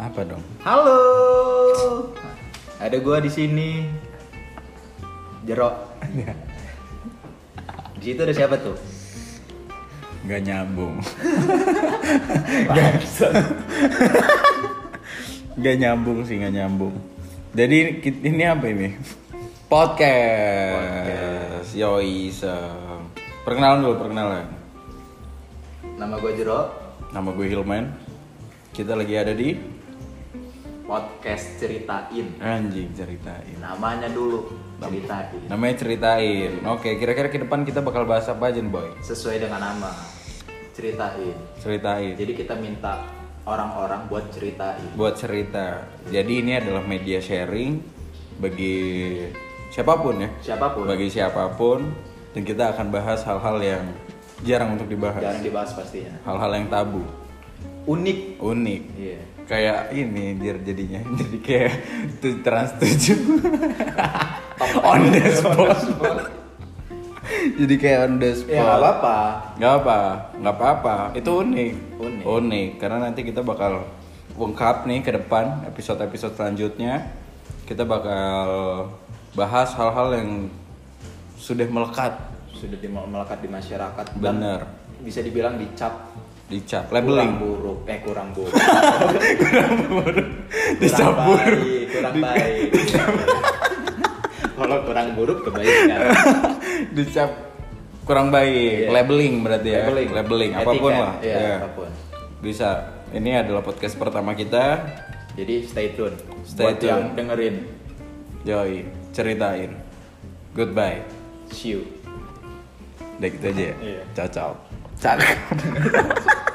Apa dong? Halo. Ada gua di sini. Jerok. Di situ ada siapa tuh? Gak nyambung. Gak nyambung sih, gak nyambung. Jadi ki- ini apa ini? Podcast. Yoi. se- Perkenalan dulu, perkenalan. Nama gua Jerok. Nama gue Hilman. Kita lagi ada di Podcast ceritain. anjing ceritain. Namanya dulu ceritain. Namanya ceritain. Oke, kira-kira ke depan kita bakal bahas apa aja nih, boy? Sesuai dengan nama. Ceritain. Ceritain. Jadi kita minta orang-orang buat ceritain. buat cerita. Jadi ini adalah media sharing bagi siapapun ya, Siapapun. bagi siapapun dan kita akan bahas hal-hal yang jarang untuk dibahas, Jangan dibahas pastinya. hal-hal yang tabu, Unik. unik. Iya. Kayak ini jir jadinya, jadi kayak tu- trans tujuh on the spot. jadi kayak on the spot. Ya nggak apa-apa. Gak apa, nggak apa-apa. Itu unik. Unik. karena nanti kita bakal lengkap nih ke depan episode-episode selanjutnya kita bakal bahas hal-hal yang sudah melekat Sudah di- melekat di masyarakat. dan bener Bisa dibilang dicap dicap kurang labeling buruk eh kurang buruk Dicap kurang baik kurang baik kalau kurang buruk kebaikan dicap kurang baik Iya. labeling berarti ya Labeling. apapun Etiket, lah iya, Ya. apapun bisa ini adalah podcast pertama kita jadi stay tune Stay buat tune. yang dengerin Joy ceritain goodbye see you udah gitu aja ya Iya. ciao ciao ciao